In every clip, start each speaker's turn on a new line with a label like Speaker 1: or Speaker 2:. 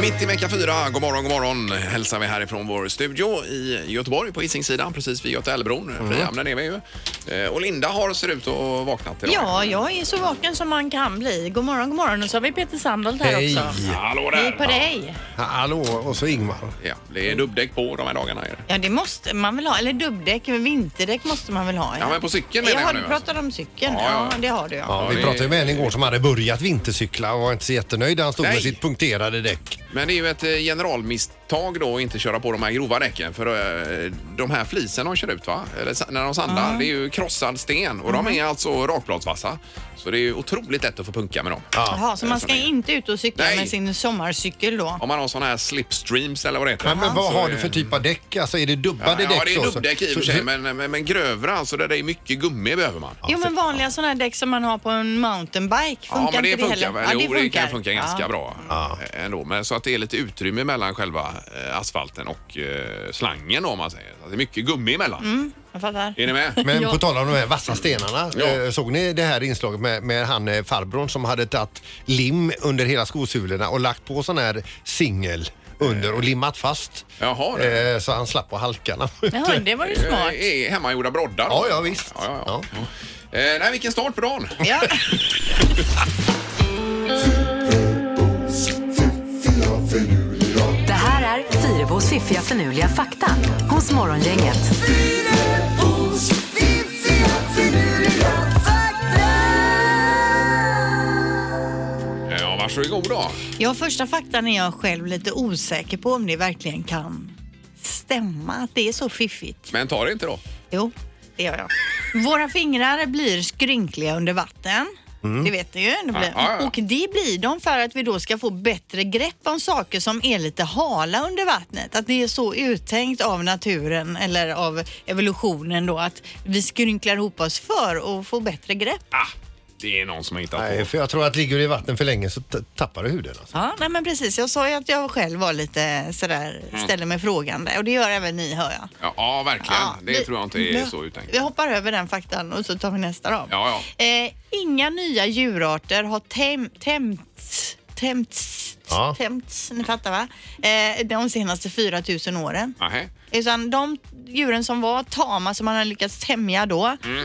Speaker 1: Mitt i vecka 4, god morgon, god morgon hälsar vi härifrån vår studio i Göteborg på Hisingssidan precis vid Götaälvbron. Frihamnen är vi ju. Eh, Och Linda har ser ut att ha vaknat idag.
Speaker 2: Ja, jag är så vaken som man kan bli. God morgon, god morgon. Och så har vi Peter Sandholt här
Speaker 3: Hej.
Speaker 2: också.
Speaker 1: Hallå
Speaker 2: Hej på
Speaker 1: där!
Speaker 2: dig.
Speaker 3: Hallå, och så Ingmar.
Speaker 1: Ja, det är dubbdäck på de här dagarna. är det.
Speaker 2: Ja, det måste man väl ha. Eller dubbdäck, men vinterdäck måste man väl ha?
Speaker 1: Ja, men på cykeln menar
Speaker 2: jag
Speaker 1: jag
Speaker 2: har
Speaker 1: nu,
Speaker 2: du
Speaker 1: alltså.
Speaker 2: pratat om cykeln?
Speaker 1: Ja,
Speaker 2: Ja,
Speaker 1: ja.
Speaker 2: det har du ja.
Speaker 3: Ja, vi
Speaker 1: det-
Speaker 3: pratade ju med en igår som hade börjat vintercykla och var inte så jättenöjd. Han stod
Speaker 1: Nej.
Speaker 3: med sitt punkterade däck.
Speaker 1: Men det är ju ett eh, generalmisstag då att inte köra på de här grova däcken för eh, de här flisen de kör ut va? Eller sa- när de sandar, det är ju krossad sten och
Speaker 2: Mm.
Speaker 1: de är alltså rakbladsvassa. Så det är ju otroligt lätt att få punka med dem.
Speaker 2: Jaha, så man ska
Speaker 1: det är så det är.
Speaker 2: inte ut och cykla
Speaker 1: Nej.
Speaker 2: med sin sommarcykel då?
Speaker 1: Om man har såna här slipstreams eller vad det heter.
Speaker 3: Men, men vad
Speaker 1: Så
Speaker 3: har
Speaker 1: det-
Speaker 3: du för typ av däck? Alltså är det dubbade
Speaker 1: ja,
Speaker 3: däck?
Speaker 1: Ja, det
Speaker 3: då?
Speaker 1: är dubbdäck i och för
Speaker 3: Så-
Speaker 1: sig, men, men, men grövre alltså där det är mycket gummi behöver man.
Speaker 2: Jo men vanliga sådana här däck som man har på en mountainbike, funkar
Speaker 1: ja, men det
Speaker 2: inte
Speaker 1: funkar
Speaker 2: heller?
Speaker 1: väl? Jo, det kan funka ganska bra eh, ändå. Men så att det är lite utrymme mellan själva eh, asfalten och eh, slangen då, om man säger. Så att det är mycket gummi emellan.
Speaker 2: Jag fattar.
Speaker 1: Är ni med?
Speaker 3: Men
Speaker 2: Ja.
Speaker 3: på tal om de här vassa stenarna.
Speaker 1: Ja.
Speaker 3: eh, Såg ni det här inslaget med, med han eh, farbrorn som hade tagit lim under hela skosulorna och lagt på sån här singel under och limmat fast.
Speaker 1: Jaha, det-
Speaker 3: Eh, Så han slapp på halkarna.
Speaker 2: Ja, det var ju smart.
Speaker 1: Eh, Är hemmagjorda broddar.
Speaker 3: Ja, ja, visst.
Speaker 1: Ja, ja, ja. Eh, nej, vilken start på dagen.
Speaker 2: Ja.
Speaker 4: Det här är Fyrabos fiffiga förnuliga fakta hos Morgongänget.
Speaker 1: Eh, Ja, varsågod då.
Speaker 2: ja, första faktan är jag själv lite osäker på om det verkligen kan stämma att det är så fiffigt.
Speaker 1: Men ta det inte då.
Speaker 2: Jo, det gör jag. Våra fingrar blir skrynkliga under vatten. Det vet ni ju. Det blir.
Speaker 1: Mm. Ja, ja.
Speaker 2: Och det blir de för att vi då ska få bättre grepp om saker som är lite hala under vattnet. Att det är så uttänkt av naturen eller av evolutionen då att vi skrynklar ihop oss för att få bättre grepp.
Speaker 1: Ah, det är någon som har hittat
Speaker 3: Nej,
Speaker 1: på.
Speaker 3: för jag tror att ligger du i vatten för länge så t- tappar du huden. Alltså.
Speaker 2: Ja, nej men precis. Jag sa ju att jag själv var lite sådär,
Speaker 1: Mm.
Speaker 2: ställer mig frågande och det gör även ni hör jag.
Speaker 1: Ja, Ja, verkligen.
Speaker 2: Ja,
Speaker 1: det
Speaker 2: Ah, vi-
Speaker 1: tror jag inte är
Speaker 2: vi-
Speaker 1: så uttänkt.
Speaker 2: Vi hoppar över den faktan och så tar vi nästa då.
Speaker 1: Ja,
Speaker 2: Eh, inga nya djurarter har tem- tämts, tämts,
Speaker 3: Ja.
Speaker 2: tämts, ni fattar va? Eh, de senaste 4000 åren.
Speaker 1: Nähä.
Speaker 2: Utan de djuren som var tama som man har lyckats tämja då,
Speaker 1: Mm.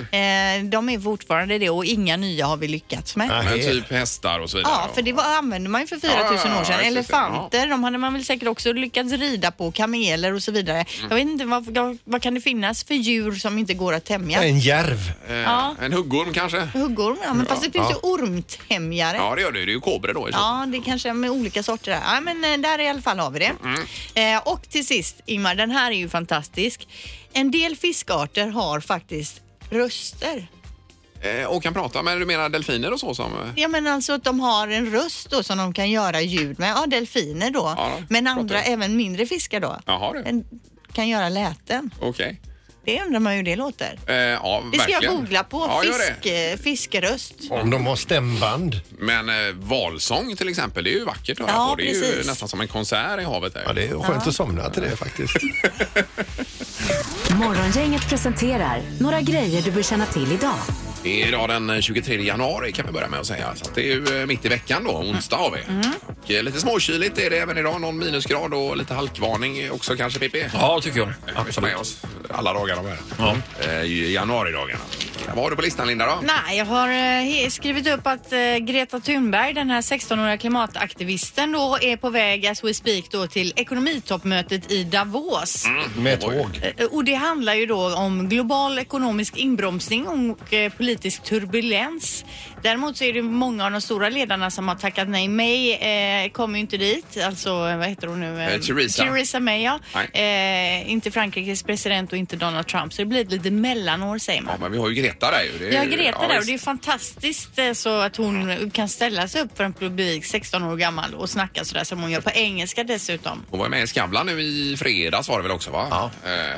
Speaker 2: eh, de är fortfarande det och inga nya har vi lyckats med.
Speaker 3: Nej.
Speaker 1: Men typ hästar och så vidare.
Speaker 2: Ja, för det var, använde man ju för 4000
Speaker 1: Ja, ja, ja,
Speaker 2: år sedan.
Speaker 1: just det.
Speaker 2: Elefanter, de hade man väl säkert också lyckats rida på, kameler och så vidare.
Speaker 1: Mm.
Speaker 2: Jag vet inte, vad, vad kan det finnas för djur som inte går att tämja?
Speaker 3: En järv.
Speaker 1: Eh,
Speaker 2: Ja.
Speaker 1: En huggorm kanske?
Speaker 2: Huggorm, ja, men fast det finns ju ormtämjare.
Speaker 1: Ja, det gör det. Det är ju kobror då. I så fall.
Speaker 2: Ja, det kanske är med olika sorter. där. Ja, men eh, där i alla fall har vi det.
Speaker 1: Mm.
Speaker 2: Eh, och till sist, Ingmar, den här är ju fantastisk. En del fiskarter har faktiskt röster.
Speaker 1: Eh, Och kan prata. Men du menar delfiner och så som... eh,
Speaker 2: Ja, men alltså att de har en röst då som de kan göra ljud med. Ja, delfiner då.
Speaker 1: Ja, de
Speaker 2: men
Speaker 1: pratar
Speaker 2: andra,
Speaker 1: ju.
Speaker 2: även mindre fiskar då.
Speaker 1: Jaha du.
Speaker 2: En, kan göra läten.
Speaker 1: Okej.
Speaker 2: Det undrar man ju hur det låter.
Speaker 1: Eh, ja,
Speaker 2: Det ska jag
Speaker 1: verkligen.
Speaker 2: googla på.
Speaker 1: Ja, gör det.
Speaker 2: Fisk, eh, fiskröst.
Speaker 3: Om de har stämband.
Speaker 1: Men eh, valsång till exempel, det är ju vackert att höra
Speaker 2: Ja,
Speaker 1: på. Det är ju
Speaker 2: precis.
Speaker 1: nästan som en konsert i havet. Där.
Speaker 3: Ja, det är skönt att somna till det faktiskt.
Speaker 4: Morgongänget presenterar några grejer du bör känna till idag.
Speaker 1: Det är idag den 23 januari kan vi börja med att säga. Så att det är ju eh, mitt i veckan då, onsdag har vi.
Speaker 2: Mm.
Speaker 1: Och, eh, lite småkyligt är det även idag, någon minusgrad och lite halkvarning också kanske Pippi?
Speaker 5: Ja, tycker jag.
Speaker 1: Eh, Vi tar med oss alla dagar de här. Eh, i januaridagarna. Vad har du på listan Linda då?
Speaker 2: Nej, jag har eh, he- skrivit upp att eh, Greta Thunberg, den här 16-åriga klimataktivisten då, är på väg as we speak då till ekonomitoppmötet i
Speaker 1: Mm.
Speaker 2: Davos.
Speaker 3: Med tåg.
Speaker 2: Eh, Och det handlar ju då om global ekonomisk inbromsning och eh, politisk turbulens. Däremot så är det många av de stora ledarna som har tackat nej. May eh, kommer ju inte dit, alltså eh, vad heter hon nu?
Speaker 1: Eh, Theresa.
Speaker 2: Theresa May, ja. Eh, inte Frankrikes president och inte Donald Trump, så det blir ett lite mellanår säger man.
Speaker 1: Ja, men vi har ju Greta där ju. Det är ju-
Speaker 2: Ja, Greta där. Och
Speaker 1: visst.
Speaker 2: det är fantastiskt eh, så att hon kan ställa sig upp för en publik 16 år gammal och snacka sådär som hon gör på engelska dessutom.
Speaker 1: Hon var med i Skavlan nu i fredags var det väl också va?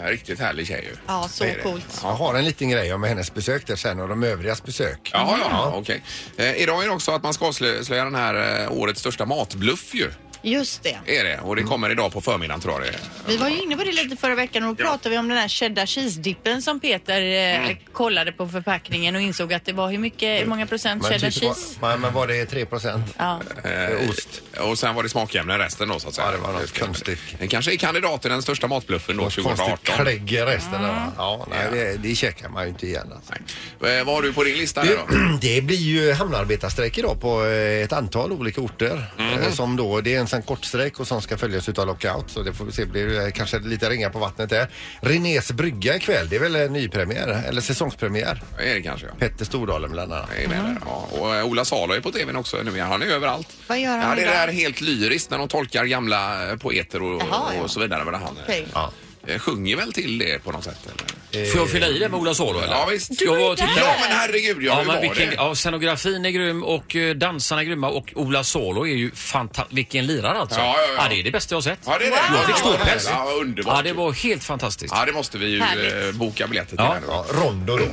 Speaker 1: Eh, riktigt härlig tjej ju.
Speaker 2: Ja, så
Speaker 1: Det är det.
Speaker 2: coolt.
Speaker 3: Jag har en liten grej om hennes besök där sen och de övrigas besök.
Speaker 2: Mm.
Speaker 1: Jaha, ja, okej. Eh, idag är det också att man ska avslöja den här eh, årets största matbluff ju.
Speaker 2: Just det.
Speaker 1: Är det?
Speaker 3: Mm.
Speaker 1: Och det kommer idag på förmiddagen tror jag det är.
Speaker 2: Vi var ju inne på det lite förra veckan och då pratade vi om den här cheddar cheese-dippen som Peter eh,
Speaker 1: Mm.
Speaker 2: kollade på förpackningen och insåg att det var hur mycket, hur många procent cheddar
Speaker 3: typ var,
Speaker 2: cheese?
Speaker 3: men, men var det 3 procent?
Speaker 2: Ja.
Speaker 1: Eh,
Speaker 3: Ost.
Speaker 1: Och sen var det smakämnen resten då så att säga.
Speaker 3: Ja, det var något konstigt.
Speaker 1: Den kanske är kandidat till den största matbluffen då 2018.
Speaker 3: klägg i resten. där. Ja, nej, det, det käkar man ju inte igen. Alltså.
Speaker 1: Nej. Eh, Vad har du på din lista här då?
Speaker 3: Det, det blir ju hamnarbetarstrejk idag på eh, ett antal olika orter. Eh,
Speaker 1: Mhm.
Speaker 3: Som då, det är en sån kortstrejk och som ska följas utav lockout. Så det får vi se, blir eh, kanske lite ringar på vattnet där. Renés brygga ikväll, det är väl en nypremiär eller säsongspremiär.
Speaker 1: Är det kanske? Ja.
Speaker 3: Petter Stordalen bland annat.
Speaker 1: Jag är med där. Ja, och eh, Ola Salo är på tvn också nu. Han är överallt.
Speaker 2: Mm. Vad gör han
Speaker 1: ja, Det
Speaker 2: idag?
Speaker 1: där är helt lyriskt när de tolkar gamla eh, poeter och,
Speaker 2: Jaha, ja.
Speaker 1: och så vidare. Men han eh,
Speaker 2: Okej.
Speaker 3: Ja.
Speaker 1: eh, sjunger väl till det på något sätt? Eller?
Speaker 5: Får jag fylla i det med Ola Salo eller?
Speaker 1: Ja, visst.
Speaker 5: Jag var och
Speaker 2: Du var ju
Speaker 5: tittade.
Speaker 1: Ja, men herregud. Ja,
Speaker 5: Ja,
Speaker 1: hur
Speaker 5: men
Speaker 1: var
Speaker 5: vilken,
Speaker 1: det?
Speaker 5: ja, scenografin är grym och eh, dansarna är grymma och Ola Salo är ju fantastisk. Vilken lirare alltså.
Speaker 1: Ja, ja, ja.
Speaker 5: det är det bästa jag har sett.
Speaker 1: Ja, det är det.
Speaker 5: Jag fick
Speaker 1: Ja,
Speaker 5: ståpäls.
Speaker 1: ja, underbart.
Speaker 5: Ja, det var helt fantastiskt.
Speaker 1: Ja, det måste vi ju
Speaker 2: Härligt.
Speaker 1: eh, boka biljetter till.
Speaker 5: Ja.
Speaker 1: här nu.
Speaker 3: Ja, Rondo då.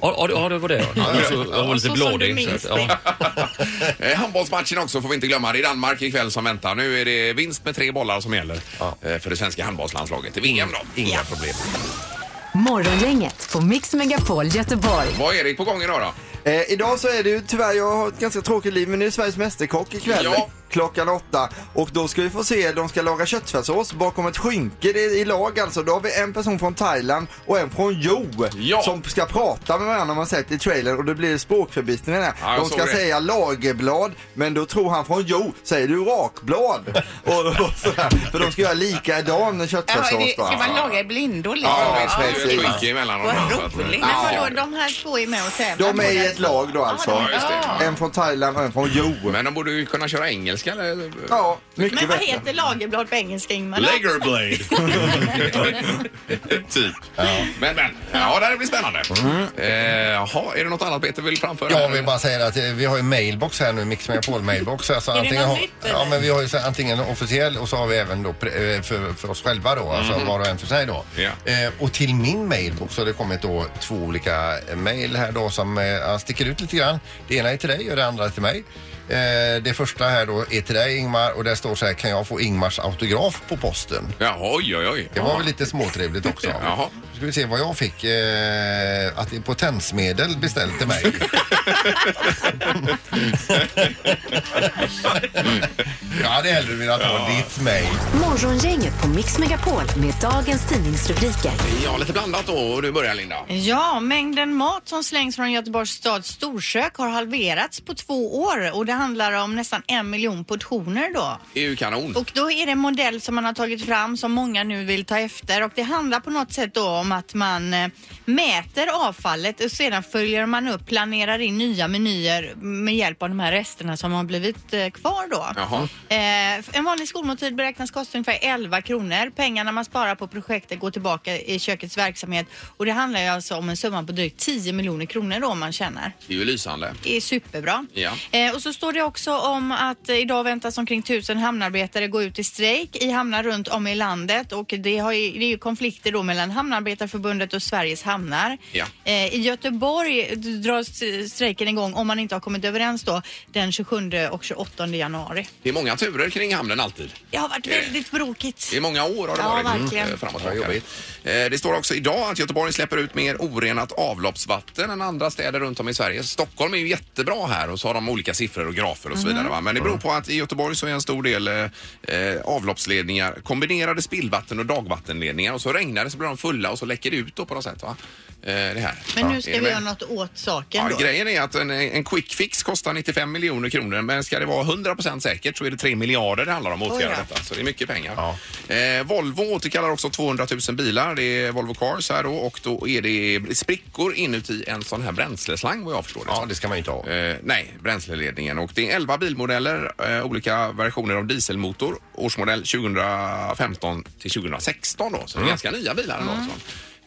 Speaker 5: Ja, ja, det- ja det var det. Jag var så- jag var lite
Speaker 2: Så som du
Speaker 5: blådig. så
Speaker 2: minns
Speaker 5: att- ja.
Speaker 1: Eh, Handbollsmatchen också får vi inte glömma. Det är Danmark ikväll som väntar. Nu är det vinst med tre bollar som gäller eh, för det svenska handbollslandslaget i
Speaker 5: Mm.
Speaker 1: VM då.
Speaker 3: Inga problem.
Speaker 4: Morgongänget på Mix Megapol Göteborg.
Speaker 1: Vad är Erik på gång idag då?
Speaker 6: Eh, idag så är det ju tyvärr, jag har ett ganska tråkigt liv, men det är Sveriges Mästerkock ikväll
Speaker 1: Ja.
Speaker 6: klockan åtta. Och då ska vi få se, de ska laga köttfärssås bakom ett skynke. Det är i lag alltså. Då har vi en person från Thailand och en från Jo
Speaker 1: Ja.
Speaker 6: som ska prata med varandra, har man sett i trailern. Och det blir språkförbistringar där.
Speaker 1: Ja, jag
Speaker 6: de
Speaker 1: såg
Speaker 6: ska
Speaker 1: det.
Speaker 6: säga lagerblad, men då tror han från Jo, säger du rakblad? och, och sådär. För de ska göra likadan
Speaker 2: Jaha,
Speaker 6: köttfärssås.
Speaker 2: är det,
Speaker 6: va?
Speaker 2: ska man laga i blindo liksom?
Speaker 1: Ja,
Speaker 6: Ja,
Speaker 1: visst. Det är
Speaker 6: precis.
Speaker 1: ett skynke emellan.
Speaker 2: Vad
Speaker 1: dem.
Speaker 2: roligt. Men
Speaker 1: Ja.
Speaker 2: vadå, de här två är med och tävlar?
Speaker 6: De är i ett lag då alltså.
Speaker 1: Ja, just det.
Speaker 6: En från Thailand och en från Jo.
Speaker 1: Men de borde ju kunna köra engelska eller?
Speaker 6: Ja, mycket
Speaker 2: Men vad
Speaker 6: bättre.
Speaker 2: heter lagerblad på engelska, Ingmar?
Speaker 1: Lagerblade. typ. Men, men. Ja, det här blir spännande. Eh, Jaha, är det något annat Peter vill framföra?
Speaker 3: Jag vill bara säga att eh, vi har ju mailbox här nu, Mix Megapol mailbox. Alltså
Speaker 2: det
Speaker 3: antingen
Speaker 2: något
Speaker 3: har-
Speaker 2: nytt,
Speaker 3: Ja,
Speaker 2: eller?
Speaker 3: men vi har ju så här, antingen en officiell och så har vi även då pre- eh, för, för oss själva då, alltså
Speaker 2: Mhm.
Speaker 3: var och en för sig då.
Speaker 1: Ja.
Speaker 3: Eh, och till min mailbox har det kommit då två olika eh, mail här då som eh, ja, sticker ut lite grann. Det ena är till dig och det andra är till mig. Eh, det första här då är till dig Ingmar och där står så här, kan jag få Ingmars autograf på posten?
Speaker 1: Ja, oj, oj, oj.
Speaker 3: Det var väl lite småtrevligt också.
Speaker 1: Jaha.
Speaker 3: Nu ska vi se vad jag fick. Eh, att det är potensmedel beställt till mig. jag hade hellre velat ha ditt mejl.
Speaker 4: Morgongänget på Mix Megapol med dagens tidningsrubriker.
Speaker 1: Ja, lite blandat då. Och du börjar Linda.
Speaker 2: Ja, mängden mat som slängs från Göteborgs stads storkök har halverats på två år och det handlar om nästan en miljon portioner då.
Speaker 1: Det är ju kanon.
Speaker 2: Och då är det en modell som man har tagit fram som många nu vill ta efter och det handlar på något sätt då om att man eh, mäter avfallet och sedan följer man upp, planerar in nya menyer med hjälp av de här resterna som har blivit eh, kvar då.
Speaker 1: Jaha.
Speaker 2: Eh, en vanlig skolmåltid beräknas kosta ungefär 11 kronor. Pengarna man sparar på projektet går tillbaka i kökets verksamhet och det handlar ju alltså om en summa på drygt 10 miljoner kronor då om man tjänar
Speaker 1: Det är ju lysande.
Speaker 2: är superbra.
Speaker 1: Ja.
Speaker 2: Eh, och så står det också om att eh, idag väntas omkring tusen hamnarbetare gå ut i strejk i hamnar runt om i landet och det, har ju, det är ju konflikter då mellan Hamnarbetarförbundet och Sveriges hamnar.
Speaker 1: Ja.
Speaker 2: Eh, I Göteborg dras strejken igång om man inte har kommit överens då den 27 och 28 januari.
Speaker 1: Det är många turer kring hamnen alltid.
Speaker 2: Det har varit väldigt brokigt.
Speaker 1: I många år har det
Speaker 2: Ja,
Speaker 1: varit
Speaker 2: verkligen.
Speaker 1: eh, fram och tillbaka. Eh, Det står också idag att Göteborg släpper ut mer orenat avloppsvatten än andra städer runt om i Sverige. Stockholm är ju jättebra här och så har de olika siffror och grafer och så
Speaker 2: Mhm.
Speaker 1: vidare. Va? Men det beror på att i Göteborg så är en stor del eh, eh, avloppsledningar kombinerade spillvatten och dagvattenledningar och så regnar det så blir de fulla och så läcker det ut då på något sätt. Va? Eh, Det här.
Speaker 2: Men
Speaker 1: Ja.
Speaker 2: nu
Speaker 1: Är
Speaker 2: ska
Speaker 1: ni
Speaker 2: vi
Speaker 1: med?
Speaker 2: göra något åt saken
Speaker 1: Ja,
Speaker 2: då.
Speaker 1: grejen är att en, en quick fix kostar 95 miljoner kronor men ska det vara 100% säkert så är det 3 miljarder det handlar om att
Speaker 2: Oj
Speaker 1: åtgärda
Speaker 2: då.
Speaker 1: detta. Så det är mycket pengar. Eh, Volvo återkallar också 200 000 bilar. Det är Volvo Cars här då, och då är det sprickor inuti en sån här bränsleslang vad jag förstår det.
Speaker 3: Ja, det ska man ju inte ha.
Speaker 1: Eh, nej, bränsleledningen. Och det är 11 bilmodeller, eh, olika versioner av dieselmotor. Årsmodell 2015 till 2016 då, så det är ganska nya bilar. ändå, alltså.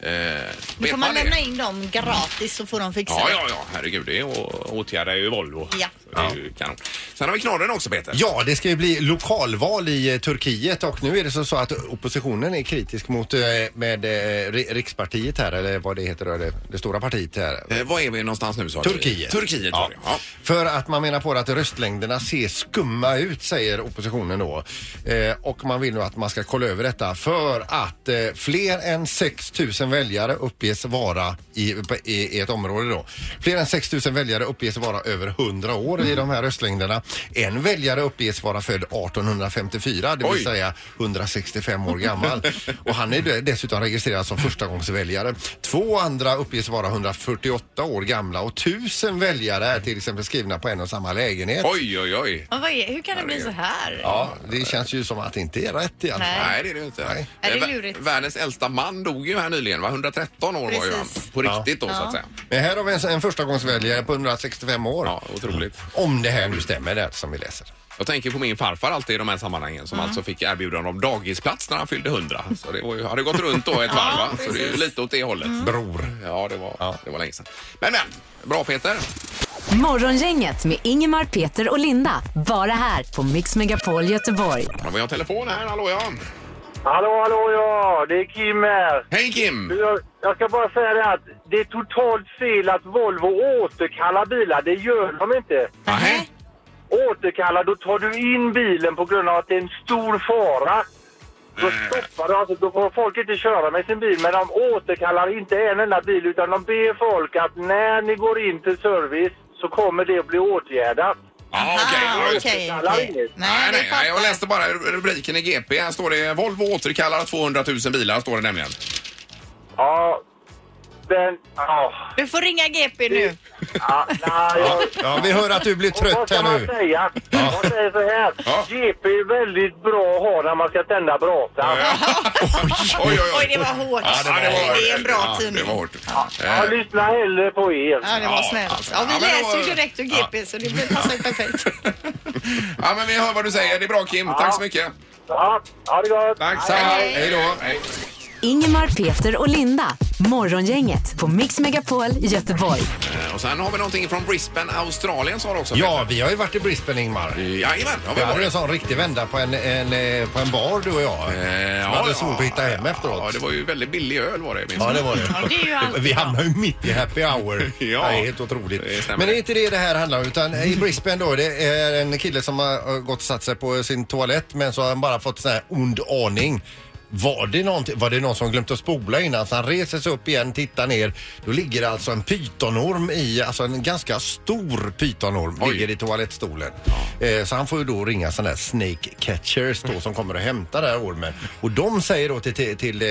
Speaker 1: Eh, så.
Speaker 2: Nu Mm. får man lämna in dem gratis så får de fixa
Speaker 1: Ja,
Speaker 2: det.
Speaker 1: ja, ja, herregud. Det är å- åtgärdar ju Volvo.
Speaker 2: Ja.
Speaker 1: Så Det är ju kanon. Sen har vi knorren också, Peter.
Speaker 3: Ja, det ska ju bli lokalval i eh, Turkiet och nu är det så, så att oppositionen är kritisk mot eh, med eh, ri- rikspartiet här eller vad det heter, då, det, det stora partiet här.
Speaker 1: Eh, var är vi någonstans nu? Sa vi?
Speaker 3: Turkiet.
Speaker 1: Turkiet var det, ja.
Speaker 3: För att man menar på att röstlängderna ser skumma ut, säger oppositionen då. Eh, och man vill nu att man ska kolla över detta för att eh, fler än 6 000 väljare uppges vara i, på- i, i ett område då. Fler än 6 000 väljare uppges vara över 100 år i de här röstlängderna. En väljare uppges vara född 1854, det vill
Speaker 1: Oj.
Speaker 3: säga säga 165 år gammal. Och han är de- dessutom registrerad som förstagångsväljare. Två andra uppges vara 148 år gamla och tusen väljare är till exempel skrivna på en och samma lägenhet.
Speaker 1: Oj, oj, oj.
Speaker 2: Men vad är, hur kan det bli så här?
Speaker 3: Ja, det känns ju som att det inte är rätt i alla fall.
Speaker 2: Nej.
Speaker 1: Nej, det är det ju inte.
Speaker 3: Nej.
Speaker 2: Nej, det är
Speaker 1: Eh, vä-
Speaker 2: lurigt.
Speaker 1: Världens äldsta man dog ju här nyligen, va? 113 år var ju han.
Speaker 2: Precis.
Speaker 1: På riktigt då, så
Speaker 2: Ja.
Speaker 1: att säga.
Speaker 3: Men här har vi en, en förstagångsväljare på 165 år.
Speaker 1: Ja, otroligt.
Speaker 3: Om det här nu stämmer det som vi läser.
Speaker 1: Jag tänker på min farfar alltid i de här sammanhangen som alltså fick erbjudande om dagisplats när han fyllde 100. Så det var ju, hade gått runt då ett varv, va? Så det är ju lite åt det hållet.
Speaker 3: Mm. Bror.
Speaker 1: Ja, det var, det var länge sedan. Men, men. Bra, Peter.
Speaker 4: Morgongänget med Ingemar, Peter och Linda. Bara här på Mix Megapol Göteborg.
Speaker 1: Ja, Vi har telefon här. Hallå, ja.
Speaker 7: Hallå, hallå, ja, det är Kim här.
Speaker 1: Hej, Kim!
Speaker 7: Jag, jag ska bara säga det att det är totalt fel att Volvo återkallar bilar. Det gör de inte.
Speaker 1: Nähä?
Speaker 7: Återkallar, då tar du in bilen på grund av att det är en stor fara. Då stoppar du, alltså, då får folk inte köra med sin bil. Men de återkallar inte en enda bil utan de ber folk att när ni går in till service så kommer det att bli åtgärdat.
Speaker 1: Ja, okej.
Speaker 2: Ah,
Speaker 1: ja,
Speaker 2: okej,
Speaker 1: just det.
Speaker 2: okej.
Speaker 7: Alla ringer.
Speaker 1: Nej,
Speaker 2: Nej, det
Speaker 1: nej,
Speaker 2: fattar
Speaker 1: nej, jag läste bara rubriken i GP. Här står det Volvo återkallar 200 000 bilar, står det nämligen.
Speaker 7: Ja, den... Ja,
Speaker 2: Du får ringa GP nu.
Speaker 7: ja, nej, jag...
Speaker 3: Ja, vi hör att du blir
Speaker 7: Och
Speaker 3: trött
Speaker 7: Vad ska
Speaker 3: här
Speaker 7: man
Speaker 3: nu.
Speaker 7: säga? Jag säger så här.
Speaker 1: Ja.
Speaker 7: GP är väldigt bra att ha när man ska tända brasan. Ja.
Speaker 1: Oj, oj,
Speaker 2: Oj, det var hårt.
Speaker 1: Ja, det, var,
Speaker 2: det är en bra
Speaker 1: ja,
Speaker 2: tidning.
Speaker 1: Det var hårt.
Speaker 7: Jag
Speaker 1: Eh,
Speaker 7: lyssnar hellre på er.
Speaker 2: Ja, det
Speaker 1: Ja,
Speaker 2: var snällt.
Speaker 1: alltså.
Speaker 2: Ja,
Speaker 1: Ja,
Speaker 2: vi
Speaker 1: men då-
Speaker 2: läser ju direkt ur GP så det blir- passar ju perfekt.
Speaker 1: ja, men vi hör vad du säger. Det är bra, Kim. Tack så mycket.
Speaker 7: Ja, ha det gott!
Speaker 1: Tack.
Speaker 2: Hej.
Speaker 1: Hej då. Hej.
Speaker 4: Ingemar, Peter och Linda. Morgongänget på Mix Megapol Göteborg.
Speaker 1: Eh, Och sen har vi någonting från Brisbane, Australien sa du också. Eh,
Speaker 3: Ja, vi har ju varit i Brisbane, Ingmar.
Speaker 1: Jajamän, det har vi
Speaker 3: Vi hade en
Speaker 1: varit.
Speaker 3: sån riktig vända på en, en, eh, på en bar, du och jag.
Speaker 1: Eh,
Speaker 3: som hade svårt att hitta hem efteråt.
Speaker 1: Ja, det var ju väldigt billig öl var det. minns
Speaker 3: Ja,
Speaker 1: jag.
Speaker 3: det var det.
Speaker 2: Ja, det är ju allt.
Speaker 3: Vi hamnar ju mitt i happy hour.
Speaker 1: Ja.
Speaker 3: det är helt otroligt.
Speaker 1: Det stämmer.
Speaker 3: Men det är inte det det här handlar om. Utan I Brisbane då, det är en kille som har gått och satt sig på sin toalett men så har han bara fått sån här ond aning. Var det, någon, var det någon som glömt att spola innan? Så han reser sig upp igen, tittar ner. Då ligger det alltså en pytonorm i, alltså en ganska stor pytonorm
Speaker 1: Oj.
Speaker 3: ligger i toalettstolen. Eh, så han får ju då ringa sådana här snake catchers
Speaker 1: Mm.
Speaker 3: då som kommer och hämtar den här ormen. Och de säger då till, till, till eh,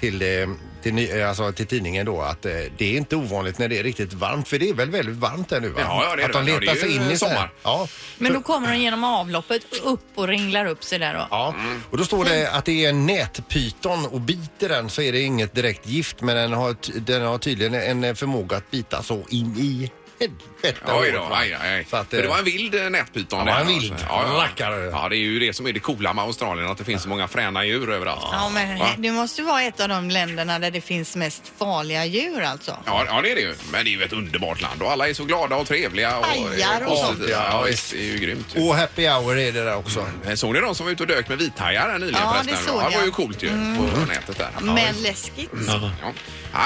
Speaker 3: till, eh, till, ny- eh, alltså till tidningen då att eh, det är inte ovanligt när det är riktigt varmt för det är väl väldigt varmt där nu va?
Speaker 1: Ja, ja, det är
Speaker 3: att
Speaker 1: det
Speaker 3: de
Speaker 1: väl. Ja,
Speaker 3: letar
Speaker 1: det är
Speaker 3: sig
Speaker 1: ju
Speaker 3: in i så här-
Speaker 1: sommar.
Speaker 3: Ja.
Speaker 2: Men då kommer de genom avloppet upp och ringlar upp sig där då.
Speaker 3: Ja,
Speaker 1: Mm.
Speaker 3: och då står det att det är en nätpyton och biter den så är det inget direkt gift men den har, ty- den har tydligen en förmåga att bita så in i helvete.
Speaker 1: Oj då,
Speaker 3: hårt, va?
Speaker 1: aj, aj.
Speaker 3: Så att,
Speaker 1: För det
Speaker 3: eh,
Speaker 1: var en vild eh, nätpyton.
Speaker 3: var
Speaker 1: där,
Speaker 3: en
Speaker 1: alltså.
Speaker 3: vild.
Speaker 1: Ja, ja.
Speaker 3: Rackare.
Speaker 1: ja, det är ju det som är det coola med Australien, att det finns så många fräna djur överallt.
Speaker 2: Ja,
Speaker 1: Va?
Speaker 2: men det måste ju vara ett av de länderna där det finns mest farliga djur alltså.
Speaker 1: Ja, ja, det är det ju. Men det är ju ett underbart land och alla är så glada och trevliga. Och,
Speaker 2: Hajar och
Speaker 1: positiva.
Speaker 2: sånt.
Speaker 1: Ja, visst, det är ju grymt. ju.
Speaker 3: eh, Och happy hour är det där också.
Speaker 1: Eh, Såg ni de som var ute och dök med vithajar här nyligen
Speaker 2: Ja, det
Speaker 1: förresten?
Speaker 2: såg
Speaker 1: ja, det var
Speaker 2: jag. Mm.
Speaker 1: ju coolt ju på nätet där. Ja,
Speaker 2: Men läskigt.
Speaker 1: ja.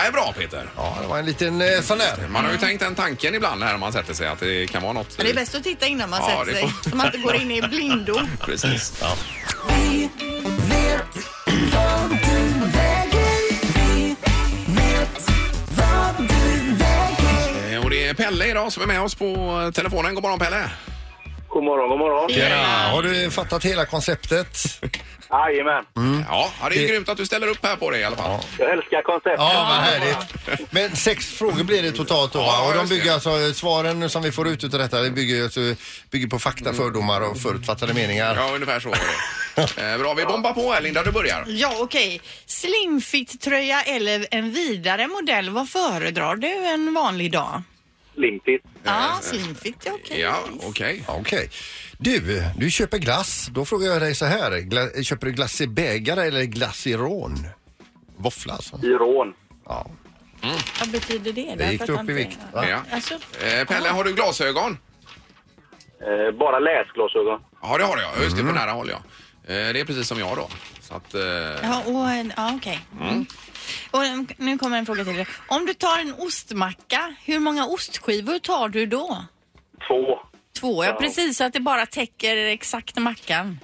Speaker 1: Nej, bra Peter.
Speaker 3: Ja, det var en liten eh, sån där.
Speaker 1: Man har ju tänkt den tanken ibland här om man sätter sig att det kan vara något.
Speaker 2: Men Mm. det är bäst att titta innan man
Speaker 1: Ja, det
Speaker 2: sätter sig.
Speaker 1: får-
Speaker 2: Så man inte går in i blindo.
Speaker 1: Precis. Eh, Och det är Pelle idag som är med oss på eh, telefonen. God morgon Pelle!
Speaker 7: God morgon, god morgon.
Speaker 3: Ja, Eh, har du fattat hela konceptet?
Speaker 7: Jajamän.
Speaker 3: Mm.
Speaker 1: Ja, ja, det är grymt att du ställer upp här på det i alla fall.
Speaker 7: Jag älskar konceptet.
Speaker 3: Ja, vad härligt. Men sex frågor blir det totalt då.
Speaker 1: Ja,
Speaker 3: va? och de
Speaker 1: just
Speaker 3: bygger
Speaker 1: det.
Speaker 3: alltså, svaren som vi får ut utav detta, det bygger, alltså, bygger på fakta, fördomar och förutfattade meningar.
Speaker 1: Ja, ungefär så var det. Eh, Bra, vi bombar på här Linda, du börjar.
Speaker 2: Ja, okej. Slimfit-tröja eller en vidare modell, vad föredrar du en vanlig dag?
Speaker 7: Limpigt.
Speaker 2: Ja, slimfit, ja, okej.
Speaker 1: Eh, Ja, okej.
Speaker 3: Ja, Okej. Du, du köper glass. Då frågar jag dig så här. Gla- köper du glass i bägare eller glass i rån? Våffla alltså.
Speaker 7: i rån.
Speaker 3: Ja,
Speaker 2: Vad betyder det?
Speaker 3: det gick
Speaker 2: Därför
Speaker 3: du
Speaker 2: att
Speaker 3: upp i
Speaker 2: han-
Speaker 3: vikt. Va?
Speaker 1: Ja.
Speaker 2: Alltså,
Speaker 1: Eh, Pelle, har du glasögon?
Speaker 7: Eh, bara läsglasögon.
Speaker 1: Ja, det har jag. Just det, på nära håll ja. Eh, Det är precis som jag då. Så att, eh,
Speaker 2: ja, och en, ja okej. Mm. Och en- nu kommer en fråga till dig. Om du tar en ostmacka, hur många ostskivor tar du då?
Speaker 7: Två.
Speaker 2: Två, ja,
Speaker 7: Ja.
Speaker 2: precis. Så att det bara täcker exakt mackan.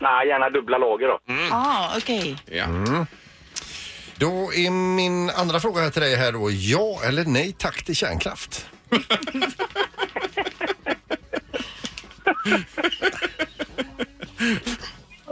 Speaker 7: Nej, gärna dubbla lager då.
Speaker 3: Mm.
Speaker 2: Ja, ah, okej.
Speaker 1: ja.
Speaker 3: Då är min andra fråga här till dig här då. Ja eller nej tack till kärnkraft?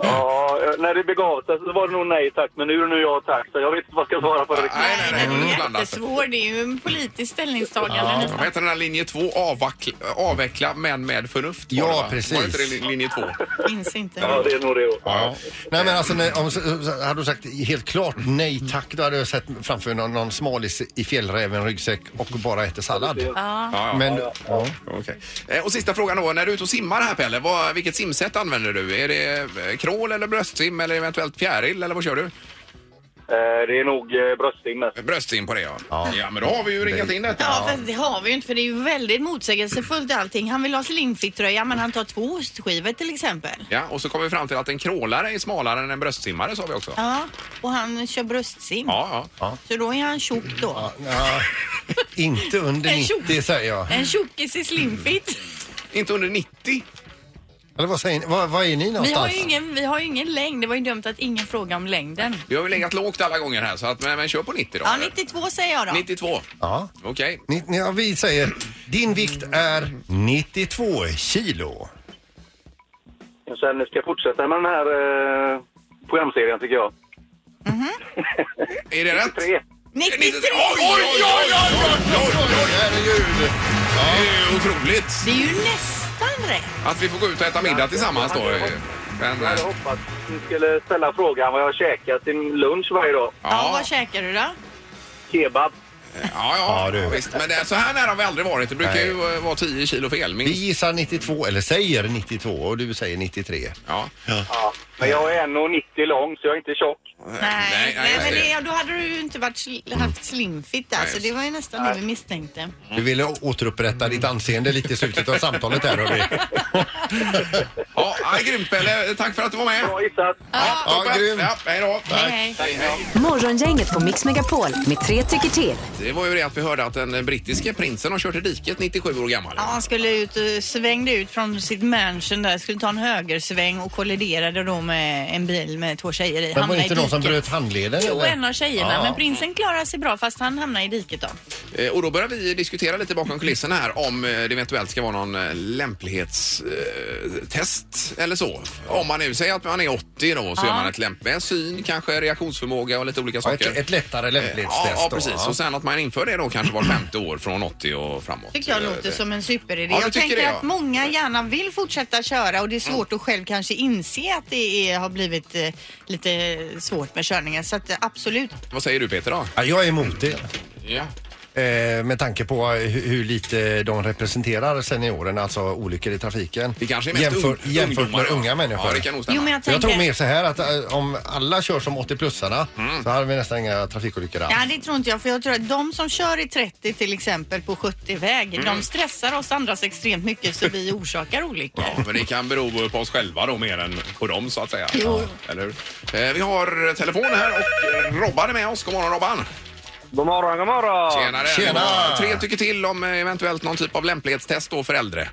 Speaker 7: Ja, eh, när det begav sig så var det nog nej tack, men nu är det nu ja tack. Så jag vet inte vad jag ska svara på det.
Speaker 1: Nej, nej, nej.
Speaker 2: Det
Speaker 1: det är
Speaker 2: är
Speaker 1: blandat.
Speaker 2: jättesvår. Det är ju en politisk ställningstagande
Speaker 1: Vad
Speaker 2: nästan.
Speaker 1: heter den här linje 2? Avveckla, avveckla men med förnuft. var
Speaker 3: Ja,
Speaker 1: det, va?
Speaker 3: precis.
Speaker 1: Var det inte det linje 2?
Speaker 2: Minns inte.
Speaker 7: Ja, det är nog det.
Speaker 3: Ja. Nej men alltså nej, om, så- så- hade du sagt helt klart nej tack då hade jag sett framför någon, någon smalis i fjällräven ryggsäck och bara äter sallad.
Speaker 1: Ja, ja.
Speaker 3: Men ja.
Speaker 1: Okej. Eh, Och sista frågan då. När du är ute och simmar här Pelle, vad, vilket simsätt använder du? Är det eh, crawl eller bröstsim eller eventuellt fjäril eller vad kör du?
Speaker 7: Eh, det är nog eh, bröstsim mest.
Speaker 1: Eh, Bröstsim på det ja. ja. men då har vi ju ringat in detta.
Speaker 2: Ja, fast det har vi ju inte för det är ju väldigt motsägelsefullt allting. Han vill ha slimfit-tröja men han tar två ostskivor till exempel.
Speaker 1: Ja, och så kom vi fram till att en krålare är smalare än en bröstsimmare sa vi också. Ja,
Speaker 2: Ja, och han kör bröstsim.
Speaker 1: ja.
Speaker 2: Så då är han tjock då.
Speaker 3: Ja, inte under
Speaker 2: En tjock.
Speaker 3: 90 säger jag.
Speaker 2: En tjockis i slimfit.
Speaker 1: Inte under 90.
Speaker 3: Eller vad säger ni? Vad, vad är ni
Speaker 2: Vi har,
Speaker 3: någonstans?
Speaker 2: ju ingen, vi har ju ingen längd. Det var ju dumt att ingen frågade om längden.
Speaker 1: Vi har ju legat lågt alla gånger här, så att, men, men kör på 90 då.
Speaker 2: Ja,
Speaker 1: eller?
Speaker 2: 92 säger jag då.
Speaker 1: 92.
Speaker 3: Ja.
Speaker 1: Okej.
Speaker 3: Ni, ni, ja, vi säger din vikt är 92 kilo.
Speaker 7: Och Sen ska jag fortsätta med den här eh, programserien tycker jag.
Speaker 1: Är det rätt?
Speaker 7: Tre.
Speaker 2: 93!
Speaker 1: 93. Oj, oj, oj, oj, oj, oj, oj, oj, herregud. Ja. Det är ju otroligt
Speaker 2: Det är ju nästan rätt.
Speaker 1: att vi får gå ut och äta middag tillsammans då. Men,
Speaker 7: Jag
Speaker 1: eh,
Speaker 7: hade hoppats att ni skulle ställa frågan vad jag käkar till lunch varje dag.
Speaker 2: Ja,
Speaker 1: ja,
Speaker 2: vad käkar du då?
Speaker 7: Kebab.
Speaker 1: ja,
Speaker 3: Ja, du.
Speaker 1: ja, visst. Men det är så här nära har vi aldrig varit. Det brukar
Speaker 3: Nej.
Speaker 1: ju eh, vara 10 kilo fel
Speaker 3: Vi
Speaker 1: minst.
Speaker 3: gissar 92 eller säger 92 och du säger 93.
Speaker 1: Ja.
Speaker 7: Ja. Men jag är 1,90 lång så jag är inte tjock.
Speaker 2: Nej, nej, men
Speaker 1: det-
Speaker 2: det, ja, då hade du ju inte varit, sl- haft slimfit där, så det var ju nästan det vi misstänkte.
Speaker 3: Du ville återupprätta ditt anseende lite i slutet av samtalet här hörru.
Speaker 1: Ja, ja, grymt Pelle. Tack för att du var med.
Speaker 7: Bra gissat.
Speaker 3: Ja,
Speaker 1: Toppen.
Speaker 3: grymt.
Speaker 1: Ja, hej då.
Speaker 2: Tack. Hej.
Speaker 1: Hej, hej.
Speaker 4: Morgongänget på Mix Megapol med tre tycker till.
Speaker 1: Det var ju det att vi hörde att den brittiske prinsen har kört i diket 97 år gammal.
Speaker 2: Ja, han skulle ut, eh, svängde ut från sitt mansion där, skulle ta en högersväng och kolliderade då med en bil med två tjejer i.
Speaker 3: Men var
Speaker 2: Hamnade i
Speaker 3: det inte någon som
Speaker 2: diket.
Speaker 3: bröt handleden?
Speaker 2: Jo,
Speaker 3: eller?
Speaker 2: en av tjejerna,
Speaker 3: Ja.
Speaker 2: men prinsen klarar sig bra fast han hamnar i diket då.
Speaker 1: Eh, Och då börjar vi diskutera lite bakom kulisserna här om eh, det eventuellt ska vara någon eh, lämplighetstest eller så. Om man nu säger att man är 80 då så gör man ett lämpligt med syn, kanske reaktionsförmåga och lite olika
Speaker 3: Ja, ett,
Speaker 1: saker.
Speaker 3: ett lättare
Speaker 1: Eh,
Speaker 3: lämplighetstest
Speaker 1: Ja, ja,
Speaker 3: då,
Speaker 1: precis.
Speaker 3: ja.
Speaker 1: Och sen att man inför det då kanske var femte år från 80 och framåt.
Speaker 2: Tycker jag
Speaker 1: Eh,
Speaker 2: låter som en superidé.
Speaker 1: Ja, du
Speaker 2: jag
Speaker 1: tycker
Speaker 2: tänker
Speaker 1: det, ja.
Speaker 2: att många gärna vill fortsätta köra och det är svårt att själv kanske inse att det är, har blivit eh, lite svårt med körningen. Så att, eh, absolut.
Speaker 1: Vad säger du Peter då?
Speaker 3: Ja, jag är emot det.
Speaker 1: Ja.
Speaker 3: Eh, med tanke på hur, hur lite de representerar seniorerna, alltså olyckor i trafiken.
Speaker 1: Det kanske är mest
Speaker 3: Jämfört-
Speaker 1: ung-
Speaker 3: jämfört med
Speaker 1: ungdomar, ja.
Speaker 3: unga människor.
Speaker 1: Ja, det kan nog stämma.
Speaker 2: Jo, men jag
Speaker 3: jag
Speaker 2: tänker...
Speaker 3: tror mer så här att eh, om alla kör som 80-plussarna
Speaker 1: Mm.
Speaker 3: så hade vi nästan inga trafikolyckor alls.
Speaker 2: Ja, det tror inte jag. För jag tror att de som kör i 30 till exempel på 70-väg, de stressar oss andra så extremt mycket så vi orsakar olyckor.
Speaker 1: Ja, men det kan bero på oss själva då mer än på dem så att säga. Jo. Eller hur? Eh, Vi har telefon här och eh, Robban är med oss. God morgon Robban!
Speaker 7: God morgon, god morgon.
Speaker 1: Tjenare!
Speaker 3: Tjena.
Speaker 1: Tre tycker till om eh, eventuellt någon typ av lämplighetstest då för äldre.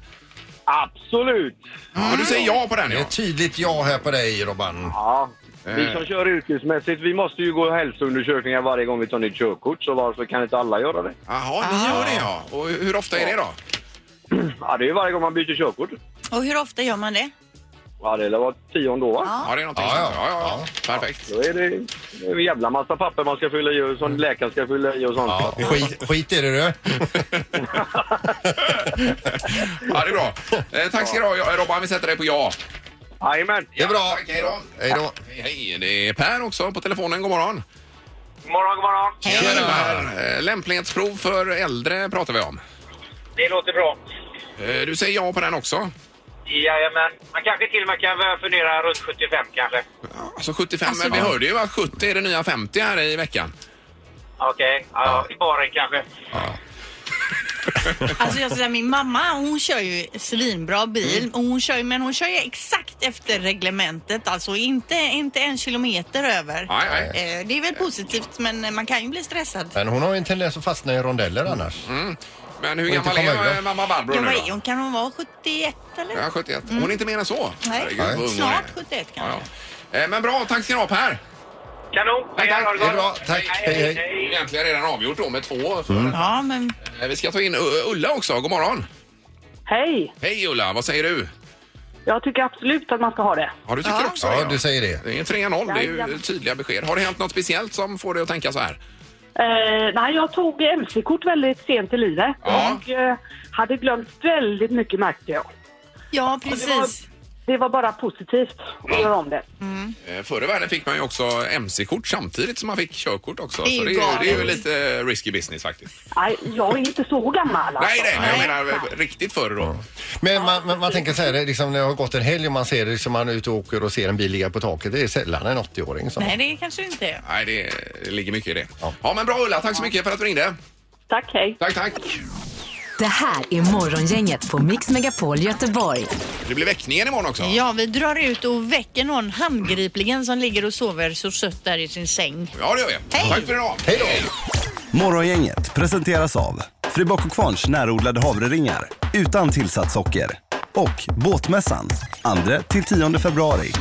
Speaker 7: Absolut.
Speaker 1: Ja, men du säger ja på den
Speaker 3: Det är
Speaker 1: ja.
Speaker 3: ett tydligt ja här på dig Robban.
Speaker 7: Ja.
Speaker 1: Eh.
Speaker 7: Vi som kör yrkesmässigt, vi måste ju gå hälsoundersökningar varje gång vi tar nytt körkort. Så varför kan inte alla göra det?
Speaker 1: Jaha, ni gör det ja. Och hur ofta är det då?
Speaker 7: Ja, det är ju varje gång man byter körkort.
Speaker 2: Och hur ofta gör man det?
Speaker 7: Ja, det lär vara tionde år. va?
Speaker 2: Ja.
Speaker 1: Ja, det är någonting
Speaker 3: Ja, ja.
Speaker 1: sånt. Ja, ja, ja. Perfekt.
Speaker 7: Då är det, det är en jävla massa papper man ska fylla i och som läkaren ska fylla i och sånt.
Speaker 3: Ja, skit, skit i det du.
Speaker 1: Ja, det är bra. Eh, tack ska du ha ja, Robban. Vi sätter dig på ja.
Speaker 7: Jajamän.
Speaker 3: Det är bra.
Speaker 1: Tack, hej då.
Speaker 3: Hej då.
Speaker 1: Hej, hej. Det är Per också på telefonen. God morgon.
Speaker 7: God morgon, god morgon.
Speaker 1: Tjena, Per. Eh, Lämplighetsprov för äldre pratar vi om.
Speaker 7: Det låter bra.
Speaker 1: Eh, Du säger ja på den också?
Speaker 7: Jajamän. Man kanske till och med kan börja fundera runt 75 kanske.
Speaker 1: Alltså 75, men vi hörde ju att 70 är det nya 50 här i veckan.
Speaker 7: Okej. Ja, i baren kanske.
Speaker 2: Alltså jag säger, min mamma hon kör ju svinbra bil och hon kör, ju- men hon kör ju exakt efter reglementet. Alltså inte, inte en kilometer över.
Speaker 1: Nej, nej.
Speaker 2: Eh, Det är väl positivt men man kan ju bli stressad.
Speaker 3: Men hon har ju en tendens att fastna i rondeller annars.
Speaker 1: Mm. Men hur
Speaker 3: Och inte
Speaker 1: gammal
Speaker 3: komma ur
Speaker 1: är eh,
Speaker 3: då.
Speaker 1: mamma Barbro
Speaker 2: Ja,
Speaker 1: nu
Speaker 2: vad
Speaker 1: då?
Speaker 2: är hon? Kan hon vara 71 eller?
Speaker 1: Ja, 71. Hon är inte mer än så.
Speaker 2: Nej.
Speaker 1: Herregud, vad ung hon är.
Speaker 2: Snart 71 kanske.
Speaker 1: Ja, ja. Eh, Men bra, tack ska ni ha Per.
Speaker 7: Kanon!
Speaker 1: Tack, tack.
Speaker 7: Ha
Speaker 3: Det är bra, tack. Hej, hej.
Speaker 1: Det är ju egentligen redan avgjort då med två. Så.
Speaker 2: Ja, men
Speaker 1: Eh, Vi ska ta in U- Ulla också. God morgon.
Speaker 8: Hej!
Speaker 1: Hej Ulla, vad säger du?
Speaker 8: Jag tycker absolut att man ska ha det.
Speaker 1: Ja, du tycker också
Speaker 3: Ja,
Speaker 1: det,
Speaker 3: du säger det.
Speaker 1: Det är 3-0, det är ju
Speaker 8: Jajamän.
Speaker 1: tydliga besked. Har det hänt något speciellt som får dig att tänka så här?
Speaker 8: Eh, nej, jag tog mc-kort väldigt sent i livet
Speaker 1: Ja.
Speaker 8: och eh, hade glömt väldigt mycket märkte jag.
Speaker 2: ja precis.
Speaker 8: Det var bara positivt att göra om det.
Speaker 1: Eh, Förr i världen fick man ju också mc-kort samtidigt som man fick körkort också.
Speaker 2: Det är
Speaker 1: så
Speaker 2: ju
Speaker 1: det, är, det är ju
Speaker 2: galet.
Speaker 1: lite eh, risky business faktiskt.
Speaker 8: Nej, jag är inte så gammal alltså.
Speaker 1: Nej, nej, men jag
Speaker 2: Nej.
Speaker 1: menar eh, riktigt förr då.
Speaker 3: Men man, man, man tänker så här, det är liksom, när det har gått en helg och man ser det, liksom, man är ute och åker och ser en bil ligga på taket. Det är sällan en 80-åring som...
Speaker 2: Nej, det kanske det inte är.
Speaker 1: Nej, det eh, ligger mycket i det. Ja.
Speaker 3: Ja.
Speaker 1: men bra Ulla, tack så mycket för att du ringde.
Speaker 8: Tack, hej.
Speaker 1: Tack, tack.
Speaker 4: Det här är Morgongänget på Mix Megapol Göteborg.
Speaker 1: Det blir väckningen imorgon också.
Speaker 2: Ja, vi drar ut och väcker någon handgripligen som ligger och sover så sött där i sin säng.
Speaker 1: Ja, det gör vi.
Speaker 2: Hej.
Speaker 1: Tack för idag.
Speaker 3: Hej då!
Speaker 9: Morgongänget presenteras av Fribock och Kvarns närodlade havreringar utan tillsatt socker och Båtmässan 2-10 februari.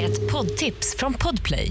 Speaker 10: Ett poddtips från Podplay.